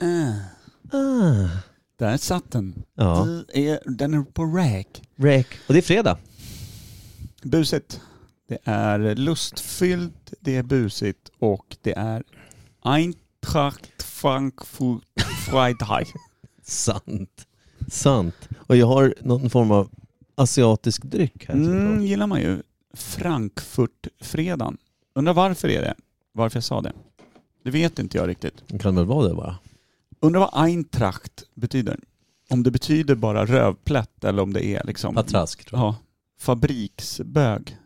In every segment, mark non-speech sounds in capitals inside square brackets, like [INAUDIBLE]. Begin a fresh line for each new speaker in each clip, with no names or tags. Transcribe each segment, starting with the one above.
Ah,
Ah.
där satt den.
Ja.
Du Är, den är på räk.
Räk. Och det är fredag.
Busigt. Det är lustfyllt, det är busigt och det är Eintracht Frankfurt Freitag.
Sant. Sant. Och jag har någon form av asiatisk dryck här. typ.
Mm, gillar man ju. Frankfurtfredagen. Undrar varför är det? Varför jag sa det? Det vet inte jag riktigt.
Det kan väl vara det bara.
Undrar vad Eintracht betyder. Om det betyder bara rövplätt eller om det är liksom...
Patrask tror jag.
Ja. Fabriksbög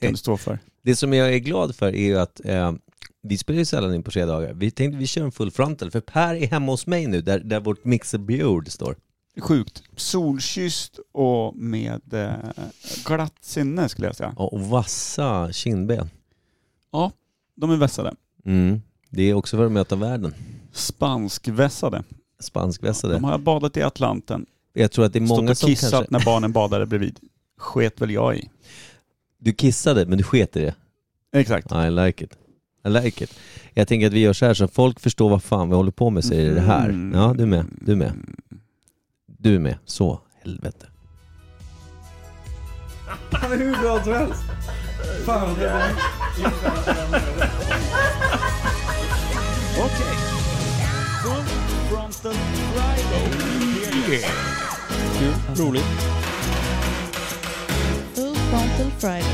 kan det stå för.
[LAUGHS] det som jag är glad för är ju att eh, vi spelar ju sällan in på fredagar. Vi tänkte vi kör en full frontal för Per är hemma hos mig nu där, där vårt mixerbjord står.
Sjukt. Solkysst och med eh, glatt sinne skulle jag säga.
Ja, och vassa kindben.
De är vässade.
Mm. Det är också för att möta världen.
Spanskvässade.
Spanskvässade.
De har badat i Atlanten.
Jag tror att det är många
Stått och
som
kissat
kanske...
när barnen badade bredvid. Sket väl jag i.
Du kissade men du sket i det.
Exakt.
I like it. I like it. Jag tänker att vi gör så här så folk förstår vad fan vi håller på med säger det här.
Mm.
Ja, du med. Du med. Du är med. Så, helvete.
Han är hur bra som helst. Fan vad det var.
Okej. Full frontal Friday. Kul. Roligt.
Full Frontal Friday.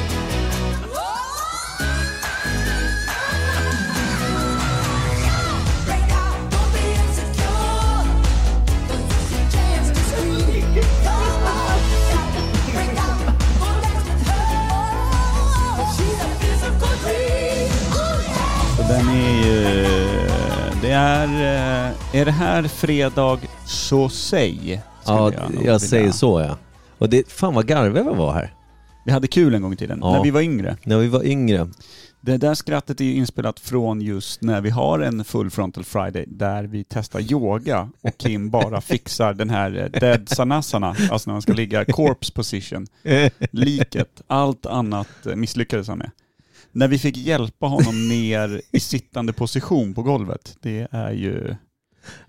Så den är ju... Det är... eh, Är det här fredag så säg? skulle
Ja,
nog
jag,
vilja.
säger så ja. Och det, fan vad garviga vi var här.
Vi hade kul en gång i tiden,
Ja.
när vi var yngre.
När vi var yngre.
Det där skrattet är ju inspelat från just när vi har en full frontal friday där vi testar yoga och Kim bara fixar den här eh, dead sanasana, alltså när man ska ligga corpse position, liket. Allt annat eh, misslyckades han med. När vi fick hjälpa honom ner i sittande position på golvet, det är ju...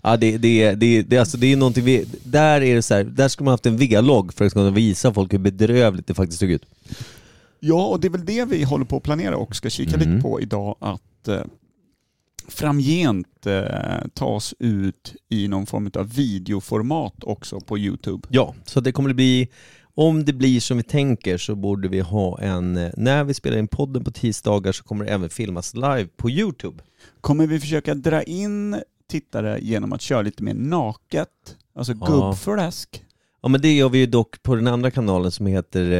Ja, det, det, det, det, alltså, det är ju någonting vi... Där är det så här, där skulle man haft en vlogg för att kunna visa folk hur bedrövligt det faktiskt såg ut.
Ja, och det är väl det vi håller på att planera och ska kika
Mm.
lite på idag, att eh, framgent eh, tas ut i någon form av videoformat också på YouTube.
Ja, så det kommer att bli, om det blir som vi tänker så borde vi ha en, eh, när vi spelar in podden på tisdagar så kommer det även filmas live på YouTube.
Kommer vi försöka dra in tittare genom att köra lite mer naket, alltså
Ja. Eh.
gubbfläsk?
Ja men det gör vi ju dock på den andra kanalen som heter,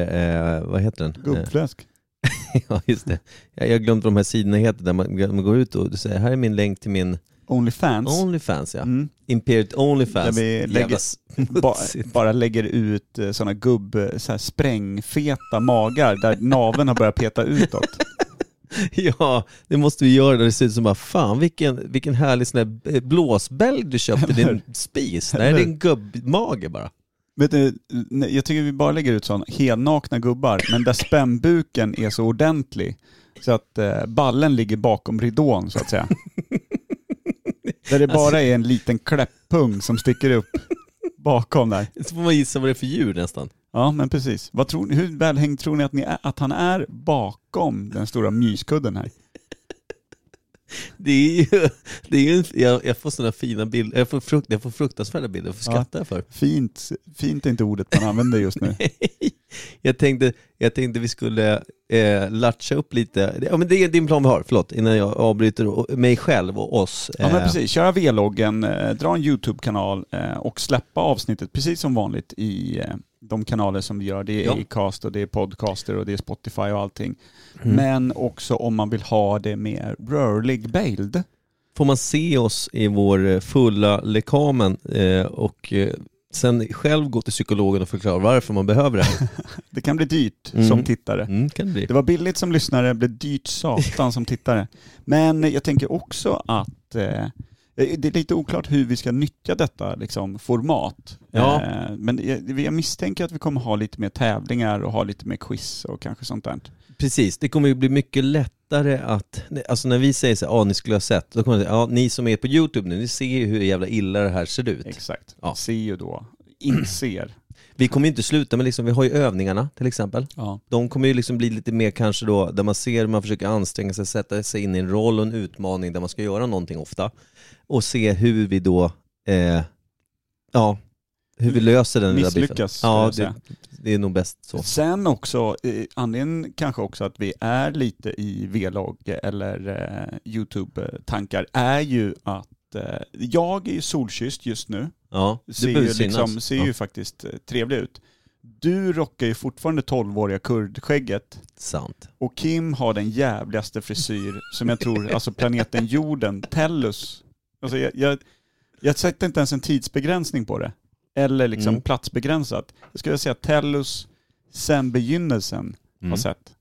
eh, vad heter den? Eh,
Gubbfläsk?
[LAUGHS] ja just det. Jag jag har glömt vad de här sidorna heter där man, man går ut och säger här är min länk till min
Onlyfans?
Onlyfans ja. [LAUGHS]
Mm.
Imperiet Onlyfans.
Där vi lägger-
Jävla
Ba
smutsigt.
bara lägger ut eh, såna gubb, eh, så här sprängfeta magar där naven har börjat peta utåt.
[LAUGHS] Ja, det måste vi göra. Det ser ut som bara, fan vilken, vilken härlig sån här eh, blåsbälg du köpte i din spis. Nej, det är en gubbmage bara.
Vet du, nej, jag tycker vi bara lägger ut sådana helnakna gubbar, men där spännbuken är så ordentlig så att eh, ballen ligger bakom ridån så att säga. där det bara är en liten kläpppung som sticker upp bakom där.
Så får man gissa vad det är för djur nästan.
Ja, men precis. Vad tror ni, hur välhängd tror ni att, ni är, att han är bakom den stora myskudden här?
Det är ju, [LAUGHS] det är ju en, jag, jag får sådana fina bilder, jag får, frukt, jag får fruktansvärda bilder, jag får
Ja.
skratta för.
Fint, fint är inte ordet man använder just nu.
Jag tänkte, jag tänkte vi skulle eh, latcha upp lite, ja men det är din plan vi har, förlåt, innan jag avbryter och, mig själv och oss.
Ja men
Eh,
precis, köra vloggen, eh, dra en YouTube-kanal eh, och släppa avsnittet precis som vanligt i eh, de kanaler som vi gör. Det är
Ja.
Acast och det är Podcaster och det är Spotify och allting.
Mm.
Men också om man vill ha det mer rörlig bild.
Får man se oss i vår eh, fulla lekamen eh, och eh, sen själv gå till psykologen och förklara varför man behöver det
[LAUGHS]
här.
Det kan bli dyrt
Mm.
som tittare.
Mm, kan det bli.
Det var billigt som lyssnare, blev dyrt satan som tittare. Men jag tänker också att eh, Eh, Det är lite oklart hur vi ska nyttja detta liksom, format.
Ja.
Eh, Men jag, jag misstänker att vi kommer ha lite mer tävlingar och ha lite mer quiz och kanske sånt där.
Precis, det kommer ju bli mycket lättare att, alltså när vi säger så här, ja ni skulle ha sett, då kommer det, ja ni som är på YouTube nu, ni ser ju hur jävla illa det här ser ut.
Exakt.
Ja.
Ser ju då,
[CLEARS THROAT]
inser.
Vi kommer ju inte sluta, men liksom, vi har ju övningarna till exempel.
Ja.
De kommer ju liksom bli lite mer kanske då, där man ser hur man försöker anstränga sig, sätta sig in i en roll och en utmaning där man ska göra någonting ofta. Och se hur vi då, eh, ja, hur vi löser den lilla biffen.
Misslyckas, skulle
Ja,
jag
det,
säga.
det är nog bäst så.
Sen också, eh, anledningen kanske också att vi är lite i V-log eller eh, YouTube-tankar är ju att eh, jag är ju solkysst just nu.
Ja,
ser
det
ju,
behöver synas.
liksom, ser
ja,
ju faktiskt eh, trevlig ut. Du rockar ju fortfarande 12-åriga kurdskägget
sant.
och Kim har den jävligaste frisyr som jag
[LAUGHS]
tror, alltså planeten jorden, Tellus. Alltså jag, jag, jag sätter inte ens en tidsbegränsning på det. Eller liksom
Mm.
platsbegränsat. Jag skulle säga Tellus sen begynnelsen
Mm.
har sett.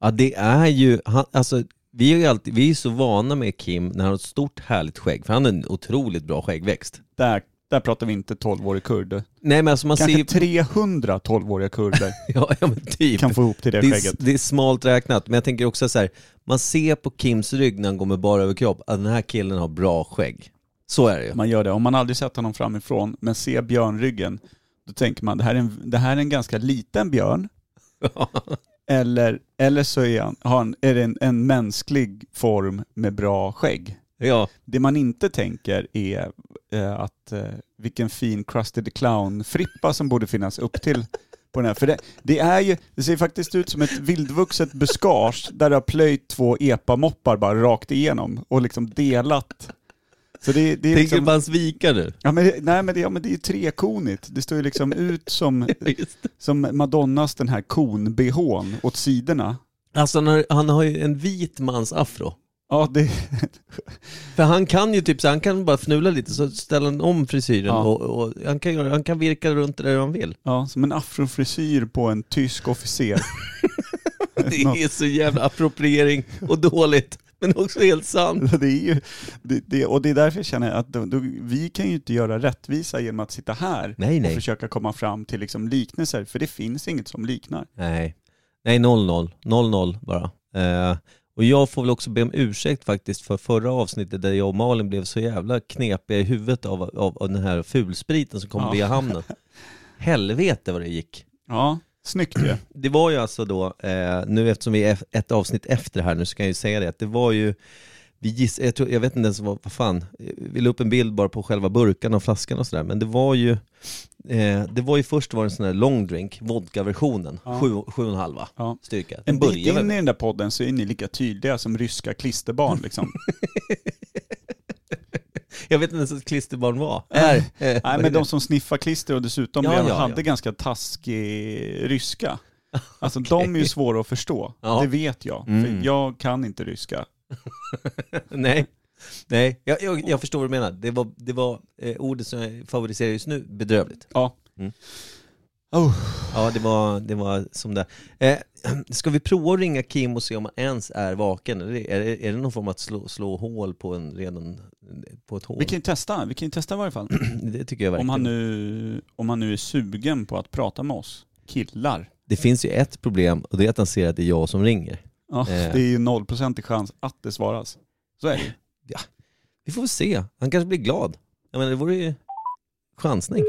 Ja, det är ju, han, alltså, vi är ju alltid, vi är ju så vana med Kim när han har ett stort härligt skägg, för han har en otroligt bra skäggväxt.
Där, där pratar vi inte 12-årig kurd.
Nej men alltså man ser
Kanske
ju,
300 12-åriga kurder
[LAUGHS] ja, ja men typ.
kan få ihop till det
Det är,
skägget.
det är smalt räknat, men jag tänker också så här, man ser på Kims rygg när han går med bara överkropp att den här killen har bra skägg. Så är det ju.
Man gör det. Om man aldrig sett honom framifrån, men ser björnryggen, då tänker man det här är en, det här är en ganska liten [LAUGHS] björn. eller, eller så är, han, har han, är det en, en mänsklig form med bra skägg.
Ja,
Det man inte tänker är eh, att eh, vilken fin Crusty the Clown-frippa som borde finnas upp till på den här. För det, det, är ju, det ser faktiskt ut som ett vildvuxet buskage där det har plöjt två epamoppar bara rakt igenom och liksom delat. Så det, det är
tänker
liksom,
du på hans vikar nu?
Ja men, det- nej, men, det, ja men det är ju trekonigt. Det står ju liksom ut som, som Madonnas den här kon-bhn åt sidorna.
Alltså han har, han har ju en vit mans afro.
Ja, det, [LAUGHS]
För han kan ju typ så han kan bara fnula lite så ställer han om frisyren
Ja.
och, och han, kan, göra- han kan virka runt det där han vill.
ja, som en afrofrisyr på en tysk officer. [LAUGHS]
Det är så jävla appropriering och dåligt, men också helt sant.
det är ju, det, det, och det är därför jag känner att då, då, vi kan ju inte göra rättvisa genom att sitta här
Nej,
och
nej.
försöka komma fram till liksom liknelser, för det finns inget som liknar.
Nej, nej 0-0. 0-0 bara. Eh, och jag får väl också be om ursäkt faktiskt för förra avsnittet där jag och Malin blev så jävla knepiga i huvudet av, av, av den här fulspriten som kom
Ja.
via [LAUGHS] hamnen. Helvete vad det gick.
Ja, snyggt ju.
Det var ju alltså då, eh, nu eftersom vi är eff- ett avsnitt efter det här nu så kan jag ju säga det, att det var ju, vi giss, jag, tror, jag vet inte ens vad, vad fan, eh, vi la upp en bild bara på själva burkarna och flaskan och sådär, men det var ju, eh, det var ju först var det en sån här long drink, vodka-versionen,
Ja.
sju, sju och en halva
Ja.
styrka. Den
En bit
börjar
in
med,
i den där podden så är ni lika tydliga som ryska klisterbarn liksom.
jag vet inte ens vad ett klisterbarn var. Är, eh, vad
[LAUGHS] Nej
är
men
det?
de som sniffar klister och dessutom
Ja,
redan
ja, ja.
hade ganska taskig
[LAUGHS]
ryska. Alltså de är ju svåra att förstå,
Ja.
det vet jag.
Mm.
För jag kan inte ryska.
Nej. Nej, jag, jag, jag förstår vad du menar. Det var, det var eh, ordet som jag favoriserar just nu, bedrövligt.
Ja.
Mm.
Oh,
Ja, det var, det var som det. Eh, ska vi prova att ringa Kim och se om han ens är vaken? Eller Är det, är det någon form att slå, slå hål på en redan, på ett hål?
vi kan ju testa, vi kan ju testa i varje fall.
[CLEARS THROAT] Det tycker jag verkligen.
Om han, nu, om han nu är sugen på att prata med oss killar.
Det finns ju ett problem och det är att han ser att det är jag som ringer.
Ja,
Eh.
Det är ju nollprocentig chans att det svaras. Så är det ju.
Vi får väl se. Han kanske blir glad. Jag menar, det vore ju chansning.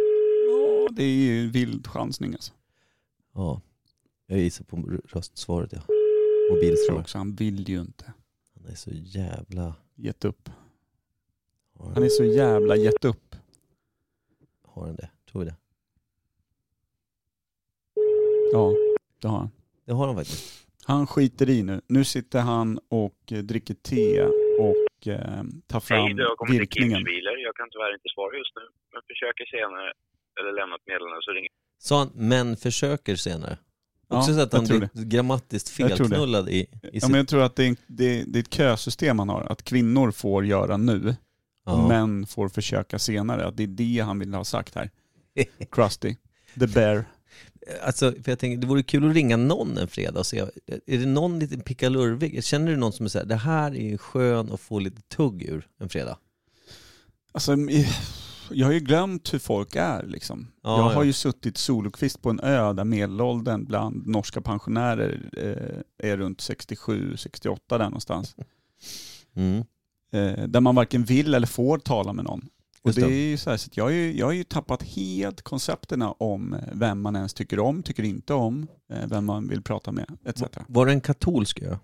Ja, Det är ju vild chansning alltså.
Ja, jag gissar på r- röstsvaret ja.
Jag tror
Mobilsvar.
också han vill ju inte.
Han är så jävla...
Gett upp.
Har
Han är så jävla gett upp.
har han det? Tror vi det?
Ja, det har han.
Det har han faktiskt.
Han skiter i nu. Nu sitter han och eh, dricker te och eh, tar
Hej,
fram
du har kommit till
virkningen.
Kims bilar. Jag kan tyvärr inte svara just nu, men försöker senare eller lämna ett meddelande så ringer
Sa han, men försöker senare.
Ja,
Också så att
jag
han
tror
blir grammatiskt
Jag tror det.
felknullad i, i
Ja, men jag tror att det är, en- det, det är ett kösystem han har. Att kvinnor får göra nu,
Ja.
män får försöka senare. Att det är det han vill ha sagt här. Krusty, the bear.
Alltså, för jag tänker, det vore kul att ringa någon en fredag och se, är det någon lite pickalurvig? Känner du någon som är så här, det här är ju skön att få lite tugg ur en fredag?
Alltså, eh, jag har ju glömt hur folk är liksom.
Ja,
jag har
ja.
ju suttit solokvist på en ö där medelåldern bland norska pensionärer eh, är runt 67-68 där någonstans.
Mm.
Eh, där man varken vill eller får tala med någon. Och
Just
det
det.
är ju så här, så att jag, har ju, jag har ju tappat helt koncepterna om eh, vem man ens tycker om, tycker inte om, eh, vem man vill prata med etc.
Var det en katolsk ö?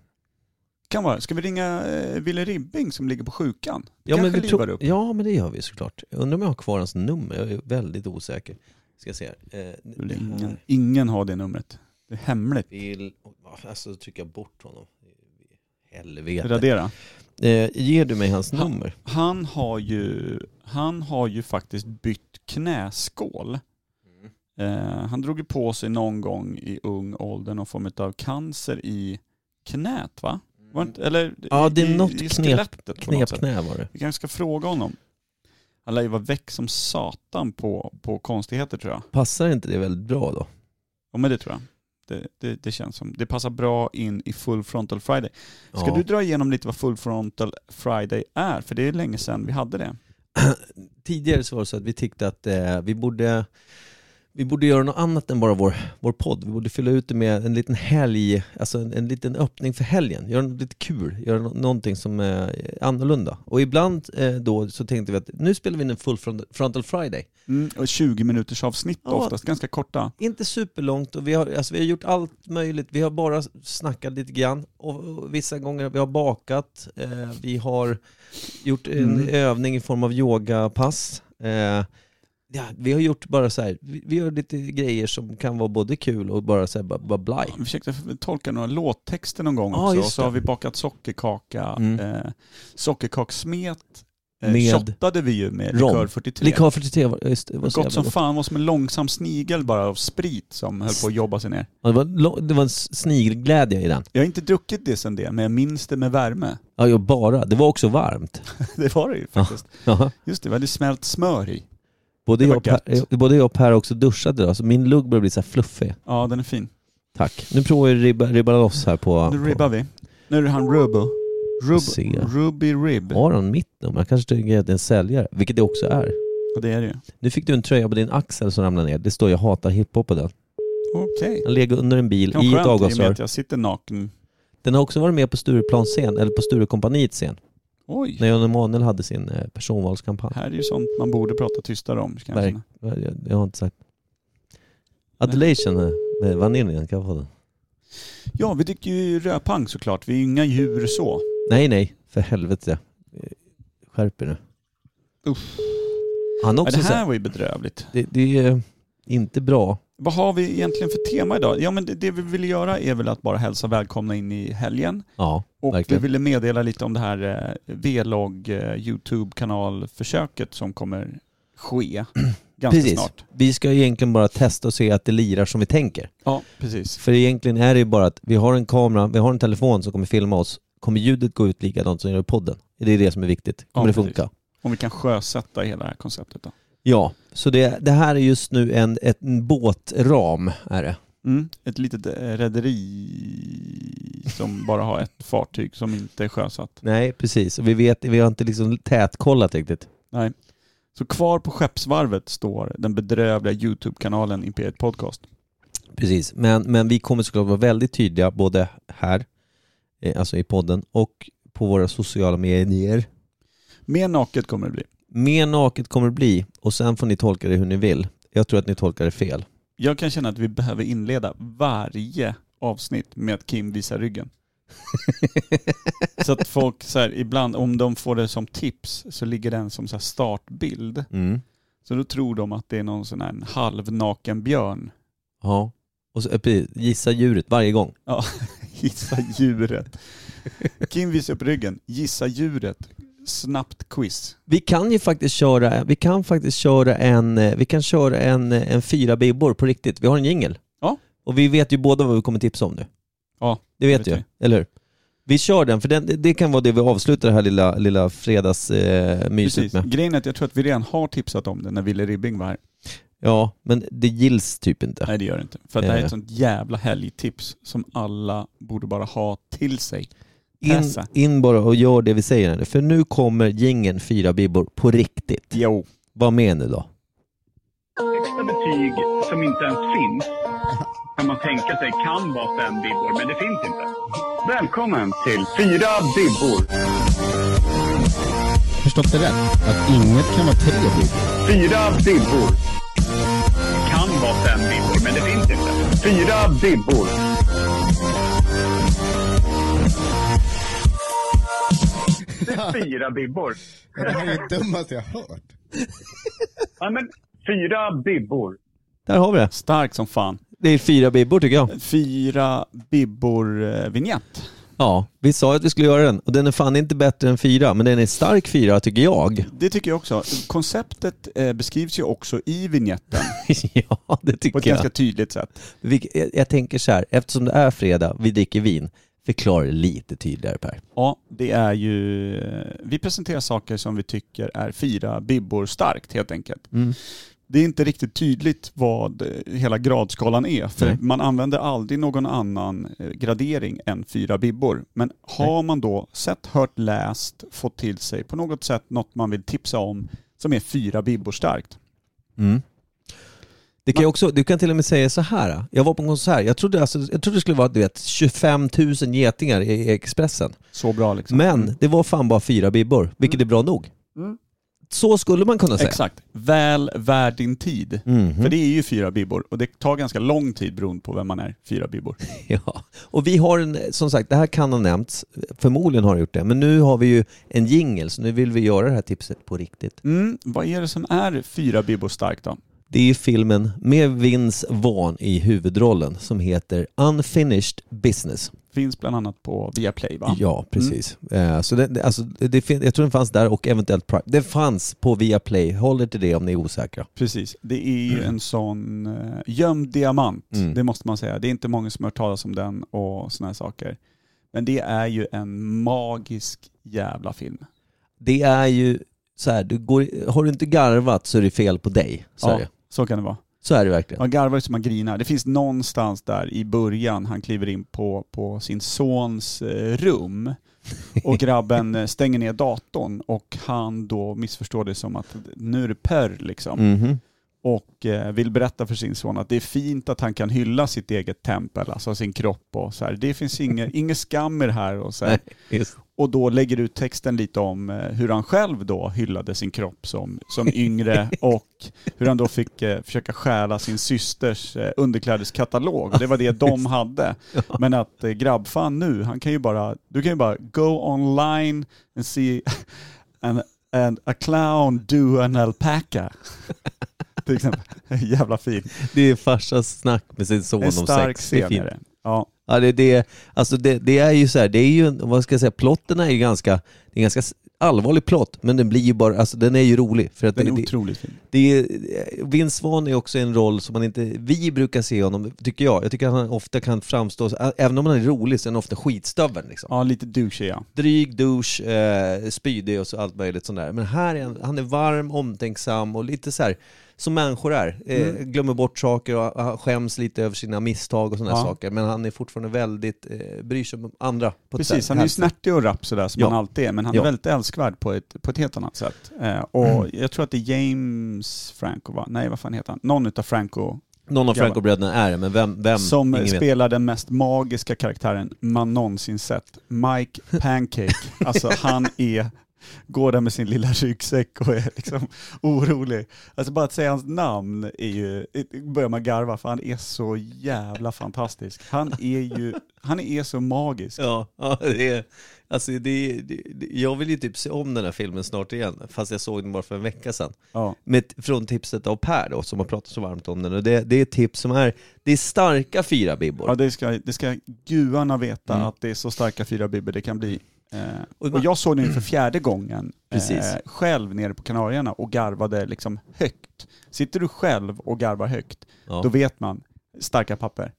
Kan vara. Ska vi ringa eh, Wille Ribbing som ligger på sjukan? Det
Ja men,
kanske
vi
livar
tror-
upp.
ja men det gör vi såklart. Jag undrar om jag har kvar hans nummer, jag är väldigt osäker. Ska se här. Eh, det
Ingen,
här.
ingen har det numret. Det är hemligt.
Vill... Oj, varför- Alltså trycker jag bort honom. Helvete.
Radera.
Eh, ger du mig hans
Ha.
nummer?
Han har ju, han har ju faktiskt bytt knäskål.
Mm.
Eh, han drog ju på sig någon gång i ung ålder någon form av cancer i knät va? Mm. Var inte, eller
Ja, det är
i,
något
i
knep-
skelettet på något sätt.
Knepknä var det.
Vi kanske ska fråga honom. Han lär ju vara väck som satan på, på konstigheter tror jag.
Passar inte det väldigt bra då?
Ja men det tror jag. Det, det, det känns som. Det passar bra in i Full Frontal Friday. Ska
Ja.
du dra igenom lite vad Full Frontal Friday är? För det är länge sedan vi hade det.
Tidigare så var det så att vi tyckte att eh, vi borde vi borde göra något annat än bara vår, vår podd. Vi borde fylla ut det med en liten helg, alltså en, en liten öppning för helgen. Göra något lite kul, göra nå- någonting som är annorlunda. Och ibland eh, då så tänkte vi att nu spelar vi in en full front- frontal friday.
Mm, och 20 minuters avsnitt
Ja.
oftast, ganska korta.
Inte superlångt och vi har, alltså vi har gjort allt möjligt. Vi har bara snackat lite grann och, och vissa gånger vi har bakat, eh, vi har gjort en
Mm.
övning i form av yogapass. Eh, ja, vi har gjort bara så här, vi, vi gör lite grejer som kan vara både kul och bara så här, bara, bara blaj.
Vi försökte tolka några låttexter någon gång
Ja,
också.
just
Så
det.
har vi bakat sockerkaka,
Mm.
eh, sockerkaksmet.
Med-
Eh, shottade vi ju med
Rom.
likör 43.
Likör 43 var just det. Var så
Gott
jävla
som
gott.
fan, var som en långsam snigel bara av sprit som höll på att jobba sig ner.
Ja, det, var, lång- det var en snigelglädje i den.
Jag har inte druckit det sedan det, men jag minns det med värme. [LAUGHS]
Ja, jag bara. Det var också varmt. [LAUGHS]
Det var det ju
Ja.
faktiskt.
Ja.
Just det, vi hade smält smör i.
Både,
Det var
jag och per,
gött.
eh, både jag och Per har också duschat idag, så min lugg börjar bli så här fluffig.
Ja, den är fin.
Tack. Nu provar vi ribba, ribba loss här på...
Nu ribbar vi. Nu är det han Rubo. Rub,
Se.
Ruby Rib.
på har han mitt nummer? Han kanske tycker att det är en säljare, vilket det också är.
Ja, det är det ju.
Nu fick du en tröja på din axel som ramlade ner. Det står jag hatar hiphop på den.
Okej.
Han låg under en bil
Kan
i
vara
ett
skönt i och med
avgasrör.
att jag sitter naken.
Den har också varit med på Stureplans scen, eller på Sturekompaniets scen,
Oj.
när Jan Emanuel hade sin eh, personvalskampanj.
Här är ju sånt man borde prata tystare om. Kan jag
Verk-
känna.
Jag, jag, jag har inte sagt... Adulation eh, med vaniljen, kan jag få den?
ja, vi dricker ju rödpang såklart. Vi är ju inga djur så.
Nej, nej, för helvete. Eh, Skärp er nu.
Uff.
Han har
Ja,
också
det
så här,
här var ju bedrövligt.
det, det är inte bra.
Vad har vi egentligen för tema idag? Ja, men det, det vi ville göra är väl att bara hälsa välkomna in i helgen.
Ja,
Och
verkligen.
vi ville meddela lite om det här eh, vlogg eh, YouTube-kanalförsöket som kommer ske [CLEARS THROAT] ganska
Precis.
snart.
Vi ska egentligen bara testa och se att det lirar som vi tänker.
Ja, precis.
För egentligen är det ju bara att vi har en kamera, vi har en telefon som kommer filma oss. Kommer ljudet gå ut likadant som det gör i podden? Det är det som är viktigt. Kommer
Ja,
det
precis.
funka?
Om vi kan sjösätta hela det här konceptet då.
Ja, så det, det här är just nu en, ett, en båtram är det.
Mm. Ett litet eh, rederi som [LAUGHS] bara har ett fartyg som inte är sjösatt.
Nej, precis. Och vi vet, vi har inte liksom tätkollat riktigt.
Så kvar på skeppsvarvet står den bedrövliga YouTube-kanalen Imperiet Podcast.
Precis. Men, men vi kommer såklart vara väldigt tydliga både här, eh, alltså i podden, och på våra sociala medier.
Mer naket kommer det bli.
Mer naket kommer det bli och sen får ni tolka det hur ni vill. Jag tror att ni tolkar det fel.
Jag kan känna att vi behöver inleda varje avsnitt med att Kim visar ryggen. Så att folk så här, ibland, om de får det som tips, så ligger den som så här startbild.
Mm.
Så då tror de att det är någon sån här en halvnaken björn. [LAUGHS]
Ja. Och så, eh, precis, gissa djuret varje gång.
Gissa djuret. Kim visar upp ryggen. Gissa djuret. Snabbt quiz.
Vi kan ju faktiskt köra, vi kan faktiskt köra en, eh, vi kan köra en, eh, en fyra bibbor på riktigt. Vi har en jingel.
Ja.
Och vi vet ju båda vad vi kommer tipsa om nu.
Ja,
Det vet,
vet
du, eller hur? Vi kör den, för den, det- det kan vara det vi avslutar det här lilla, lilla fredagsmyset
Precis.
med.
Grejen är att jag tror att vi redan har tipsat om det när Wille Ribbing var här.
Ja, men det gills typ inte.
Nej det gör det inte. För att det här är
Eh.
ett sånt jävla helgtips som alla borde bara ha till sig.
In,
Läsa.
in bara och gör det vi säger här nu. För nu kommer gängen fyra bibbor på riktigt.
Jo.
Var med nu då.
Extra betyg som inte ens finns kan man tänka sig kan vara fem bibbor, men det finns inte. Välkommen till Fyra bibbor.
Förstått det rätt? Att inget kan vara tre bibbor?
Fyra bibbor. Kan vara fem bibbor, men det finns inte. Fyra bibbor. Det är fyra bibbor.
Det här är det dummaste jag har hört.
Ja, men fyra bibbor.
Där har vi det.
Stark som fan.
Det är fyra bibbor tycker jag.
Fyra eh, bibbor-vinjett.
Ja, vi sa att vi skulle göra den. Och den är fan inte bättre än fyra, men den är stark fyra tycker jag. [LAUGHS]
Det tycker jag också. Konceptet eh, beskrivs ju också i vinjetten
ja, det
på ett
tycker jag.
ganska tydligt sätt.
Vilk- jag. Jag tänker så här, eftersom det är fredag, vi dricker vin. Förklara det lite tydligare Per.
Ja, det är ju... eh, Vi presenterar saker som vi tycker är fyra bibbor starkt helt enkelt.
Mm.
Det är inte riktigt tydligt vad eh, hela gradskalan är, för
Nej.
man använder aldrig någon annan eh, gradering än fyra bibbor. Men har man då sett, hört, läst, fått till sig på något sätt något man vill tipsa om som är fyra bibbor starkt,
Det kan ju också, du kan till och med säga så här. Jag var på en konsert, jag trodde, alltså, jag trodde det skulle vara du vet, 25 000 getingar i Expressen.
så bra liksom.
Men det var fan bara fyra bibbor, vilket är bra nog. Så skulle man kunna säga.
Exakt. Väl värd din tid.
Mhm.
För det är ju fyra bibbor och det tar ganska lång tid beroende på vem man är, fyra bibbor.
[LAUGHS] Ja. Och vi har en, som sagt, det här kan ha nämnts, förmodligen har det gjort det, men nu har vi ju en jingle, så nu vill vi göra det här tipset på riktigt.
Mm, vad är det som är fyra bibbor starkt då?
Det är filmen med Vince Vaughn i huvudrollen som heter Unfinished Business.
Finns bland annat på Viaplay va?
Ja, precis. Eh, Så det, det, alltså, det, fin- jag tror den fanns där och eventuellt Prime. Den fanns på Viaplay. Håll er till det om ni är osäkra.
Precis. Det är ju en sån eh, gömd diamant,
Mm.
det måste man säga. Det är inte många som har hört talas om den och såna här saker. Men det är ju en magisk jävla film.
Det är ju så här, du går, har du inte garvat så är det fel på dig. Så, är, det.
så kan det vara.
så är det verkligen.
Man garvar ju som man grinar. Det finns någonstans där i början han kliver in på, på sin sons eh, rum
[LAUGHS]
och grabben eh, stänger ner datorn och han då missförstår det som att nu är det pörr liksom.
Mhm.
Och eh, vill berätta för sin son att det är fint att han kan hylla sitt eget tempel, alltså sin kropp och så här. Det finns inget, ingen skam i det här och så här.
Nej, just.
Och då lägger ut texten lite om eh, hur han själv då hyllade sin kropp som,
[LAUGHS]
som yngre och hur han då fick eh, försöka stjäla sin systers eh, underklädeskatalog. Det var
[LAUGHS]
det de hade. Men att eh, grabbfan nu, han kan ju bara, du kan ju bara go online and see [LAUGHS] an, an, a clown do an
[LAUGHS]
alpaca. Till exempel. [LAUGHS] Jävla fin.
Det är farsas snack med sin son
En
om
stark
sex. Det är
scen
fint.
är det. Ja.
Ja, det, det, alltså det, det är ju så här, det är ju, en- vad ska jag säga, plotten är ju ganska, det är en ganska s- allvarlig plott, men den blir ju bara, alltså den är ju rolig. För att
Den är
det, det,
otroligt fin.
Det är, Vince Svan är också en roll som man inte, vi brukar se honom, tycker jag. Jag tycker att han ofta kan framstå, även om han är rolig, så är han ofta skitstöveln liksom.
Ja, lite douchey ja.
Dryg, douche, eh, spydig och så allt möjligt sånt där. Men här är han, han är varm, omtänksam och lite så här som människor är. Eh,
Mm.
Glömmer bort saker och han skäms lite över sina misstag och sådana
Ja.
saker. Men han är fortfarande väldigt, eh, bryr sig om andra. På ett
Precis,
så
han är
här-
ju snärtig och rapp sådär som
Ja.
han alltid är, men han
Ja. Mm.
är väldigt älskvärd på ett, på ett helt annat sätt. Eh, och jag tror att det är James Franco, va? Nej vad fan heter han? Någon utav Franco
Någon av Franco-bröderna är det, men vem? vem
som
Mm, Ingen vet.
spelar den mest magiska karaktären man någonsin sett. Mike Pancake.
[LAUGHS]
alltså han är, går där med sin lilla ryggsäck och är liksom orolig. Alltså bara att säga hans namn är ju, börjar man garva för han är så jävla fantastisk. Han är ju, han är så magisk.
Ja, [LAUGHS] ja det är, alltså det, det, det- jag vill ju typ se om den här filmen snart igen, fast jag såg den bara för en vecka sedan.
Ja.
Med, från tipset av Per då, som har pratat så varmt om den. Och det, det är ett tips som är, det är starka fyra bibbor.
Ja, det ska, det ska gudarna veta att det är så starka fyra bibbor det kan bli. Eh,
Och
och,
man-
jag såg den ju för fjärde gången
Precis.
själv nere på Kanarierna och garvade liksom högt. Sitter du själv och garvar högt,
Ja.
då vet man. Starka papper.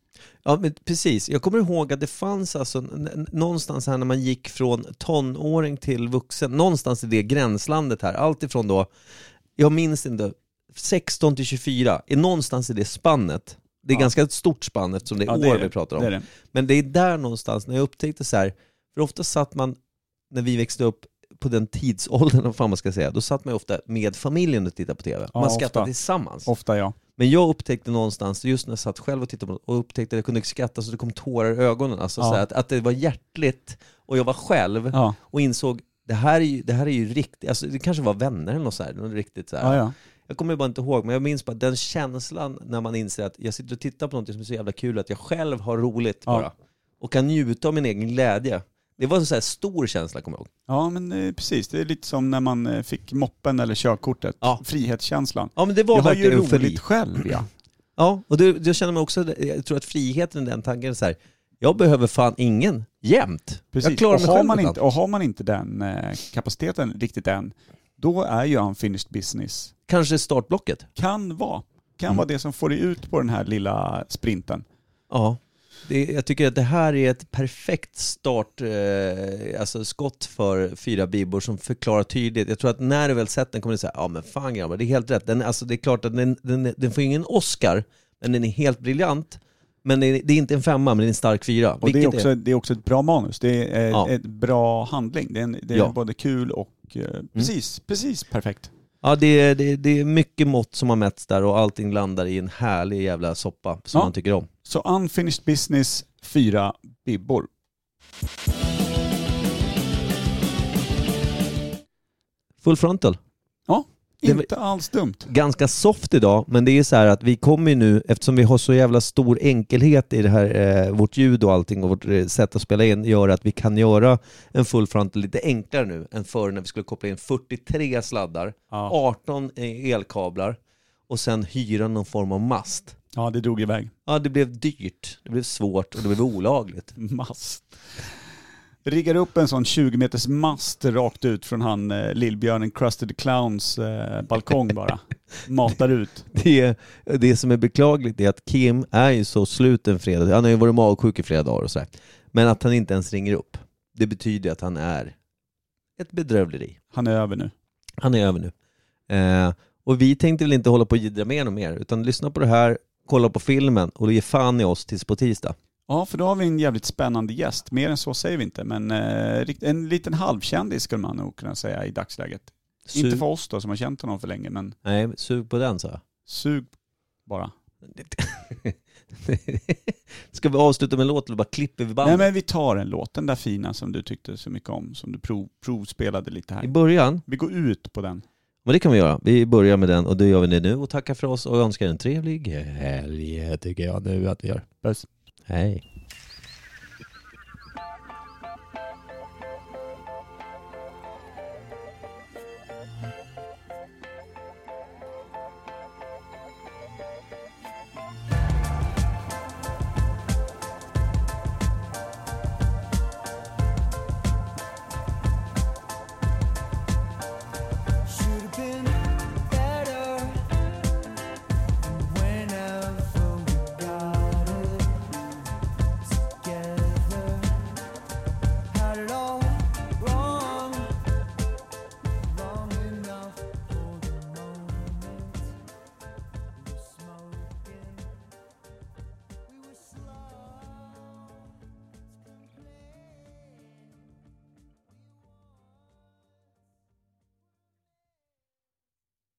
Ja, men precis. Jag kommer ihåg att det fanns alltså n- n- någonstans här när man gick från tonåring till vuxen, någonstans i det gränslandet här, allt ifrån då, jag minns inte, 16 till 24, är någonstans i det spannet. Det är ganska ett stort spann eftersom det är
Ja,
år
det är det.
vi pratar om.
Det är det.
Men det är där någonstans när jag upptäckte så här, för För ofta satt man, när vi växte upp, på den tidsåldern, [LAUGHS] vad fan man ska säga, då satt man ju ofta med familjen och tittade på TV.
Ja,
Man
ofta.
skrattade tillsammans.
Ofta ja.
Men jag upptäckte någonstans, just när jag satt själv och tittade på det, och upptäckte att jag kunde skratta så det kom tårar i ögonen. Alltså,
Ja.
så här, att, att det var hjärtligt och jag var själv
Ja,
och insåg det här är ju, det här är ju riktigt, alltså, det kanske var vänner eller något så här, något riktigt så här.
ja, ja.
Jag kommer bara inte ihåg, men jag minns bara den känslan när man inser att jag sitter och tittar på någonting som är så jävla kul att jag själv har roligt
Ja.
bara. Och kan njuta av min egen glädje. Det var en så här stor känsla kommer jag ihåg.
ja men eh, precis. Det är lite som när man eh, fick moppen eller körkortet.
Ja.
Frihetskänslan.
Ja men det var
Jag har ju
verkligen
roligt
eufori.
själv ja.
Ja, och det, jag känner mig också, jag tror att friheten i den tanken är så här, jag behöver fan ingen jämt.
Precis.
Jag klarar
och,
mig
har
själv
man
ibland.
inte, och har man inte den eh, kapaciteten riktigt än, då är ju unfinished business,
Kanske startblocket.
kan vara, kan
Mm.
vara det som får dig ut på den här lilla sprinten.
Ja. Det, jag tycker att det här är ett perfekt start, eh, alltså skott för fyra bibor som förklarar tydligt. Jag tror att när du väl sett den kommer du säga, ja men fan grabbar, det är helt rätt. Den, alltså, det är klart att den, den, den får ingen Oscar, men den är helt briljant. Men det är, det är inte en femma, men det är en stark fyra.
Och det är, också, det är också ett bra manus, det är eh,
Ja.
ett bra handling. Det är, en, det är
Ja. Mm.
både kul och eh, precis, precis perfekt.
Ja, det är, det, är, det är mycket mått som har mätts där och allting landar i en härlig jävla soppa som
Ja.
man tycker om.
Så unfinished business, fyra bibbor.
Full frontal.
Ja,
Det var-
inte alls dumt.
ganska soft idag, men det är så här att vi kommer ju nu, eftersom vi har så jävla stor enkelhet i det här, eh, vårt ljud och allting och vårt eh, sätt att spela in, gör att vi kan göra en full frontal lite enklare nu än förr när vi skulle koppla in 43 sladdar,
Ja.
18 elkablar och sen hyra någon form av mast.
Ja, det drog iväg.
Ja, det blev dyrt, det blev svårt och det blev olagligt.
Mast. Riggar upp en sån 20 meters mast rakt ut från han eh, Lillbjörnen Crusted Clowns eh, balkong bara. Matar ut.
Det, det som är beklagligt är att Kim är ju så slut en fredag, han har ju varit magsjuk i flera dagar och sådär, men att han inte ens ringer upp, det betyder ju att han är ett bedrövleri.
Han är över nu.
Han är över nu. Eh, och vi tänkte väl inte hålla på och jiddra med honom mer, utan lyssna på det här, kolla på filmen och ge fan i oss tills på tisdag.
Ja, för då har vi en jävligt spännande gäst. Mer än så säger vi inte, men eh, rikt- en liten halvkändis skulle man nog kunna säga i dagsläget.
Sug,
Inte för oss då som har känt honom för länge, men
Nej, sug på den sa jag. [LAUGHS] Ska vi avsluta med en låt eller bara klipper vi
Nej
bandet?
men vi tar den låten där fina som du tyckte så mycket om, som du prov, provspelade lite
I
här.
början,
Vi går ut på den.
men det kan vi göra. Vi börjar med den och det gör vi det nu och tackar för oss och önskar en trevlig helg tycker jag nu att vi gör.
Puss.
Hej.